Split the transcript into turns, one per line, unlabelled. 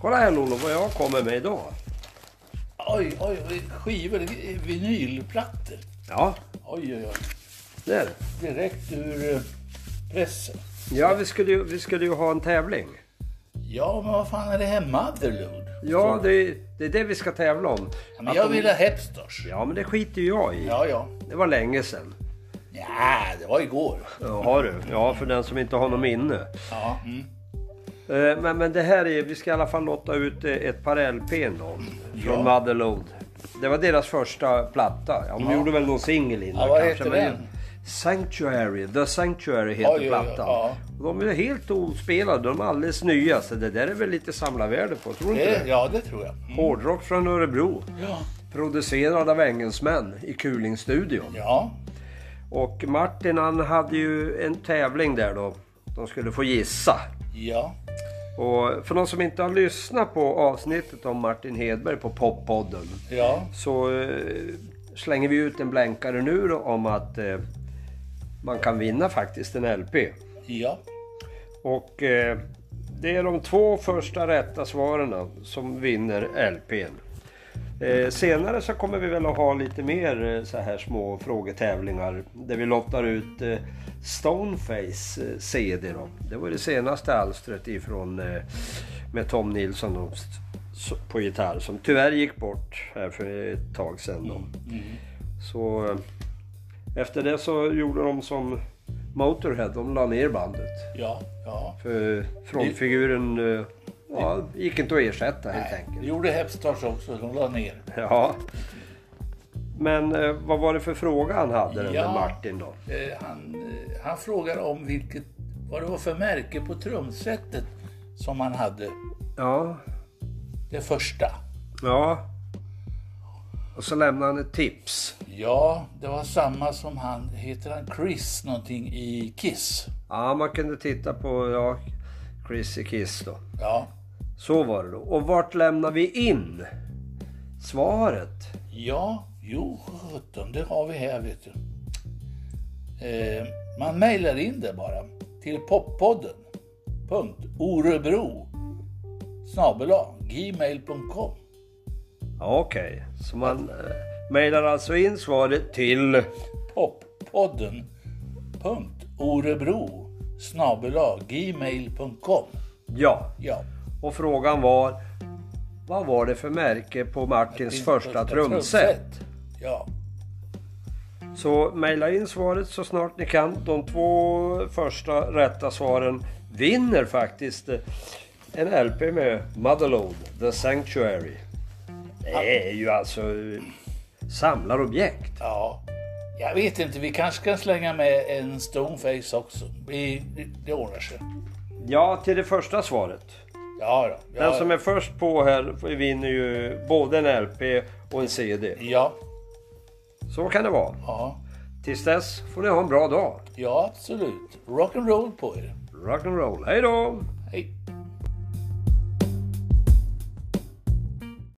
Kolla här Lollo vad jag kommer med idag.
Oj, oj, oj, skivor. eh, Vinylplattor.
Ja,
Oj, oj, oj.
det är det.
Direkt ur eh, pressen.
Ja, vi skulle, ju, vi skulle ju ha en tävling.
Ja, men vad fan är det här Motherload?
Ja, det, är- det är det vi ska tävla om.
Men
Att
jag
de-
vill ha Hepstars.
Ja, men det skiter ju jag i.
Ja, ja.
Det var länge sedan.
Ja, det var igår.
Ja, har du? Ja, för den som inte har något minne.
Ja, mm.
Eh, Men, men det här är, vi ska i alla fall lotta ut eh, ett par LPn då. Från
Ja.
Motherload. Det var deras första platta. Ja, de gjorde väl någon singel innan
Ja, vad
kanske.
heter
men-
den?
Sanctuary, The Sanctuary
Oj,
heter
oj, oj,
plattan.
ja.
De är helt ospelade, de är alldeles nya. Så det där är väl lite samlarvärde på, tror du inte
det,
det?
ja, det tror jag.
Hårdrock från Örebro.
Ja,
Producerad av engelsmän i Kulingstudion.
ja.
Och Martin han hade ju en tävling där då. De skulle få gissa.
ja.
Och för de som inte har lyssnat på avsnittet om Martin Hedberg på Poppodden
ja.
så eh, slänger vi ut en blänkare nu då om att eh, man kan vinna faktiskt en LP.
Ja,
Och eh, det är de två första rätta svaren som vinner LPn. Eh, senare så kommer vi väl att ha lite mer eh, så här små frågetävlingar där vi lottar ut eh, Stoneface eh, CD. Då. Det var det senaste alstret ifrån eh, med Tom Nilsson då, s- s- på gitarr som tyvärr gick bort här för ett tag sedan. Då. Så eh, efter det så gjorde de som Motorhead, de la ner bandet.
ja, ja.
För frontfiguren eh, ja, gick inte att ersätta helt
Det
enkelt.
gjorde Hepstars också, de la ner.
Ja. Men eh, vad var det för fråga han hade den där
Ja.
Martin då?
Eh, han, eh, han frågade om vilket, vad det var för märke på trumsetet som han hade,
Ja.
det första.
Ja. Och så lämnade han ett tips.
Ja, det var samma som han, heter han Chris någonting i Kiss?
Ja, man kunde titta på ja, Chrissy Kiss då.
Ja,
Så var det då. Och vart lämnar vi in svaret?
ja, jo, sjutton, det har vi här vet du. Eh, man mejlar in det bara till poppodden. Punkt Orebro snabel-a, gmail.com.
Ja, Okej, så man eh, mejlar alltså in svaret till...
poppodden .orebro gmail.com
Ja,
Ja,
Och frågan var, vad var det för märke på Martins första trumset?
Ja,
Så mejla in svaret så snart ni kan. De två första rätta svaren vinner faktiskt eh, en LP med Motherlode, The Sanctuary. Det är ju alltså eh, samlarobjekt.
ja. Jag vet inte, vi kanske kan slänga med en stoneface också. Vi, det- det ordnar sig.
Ja, till det första svaret.
Ja, då.
Den
ja.
som är först på här vinner ju både en LP och en CD.
Ja,
Så kan det vara.
ja,
Tills dess får ni ha en bra dag.
ja, absolut. Rock'n'roll på er.
Rock'n'roll. Hej då!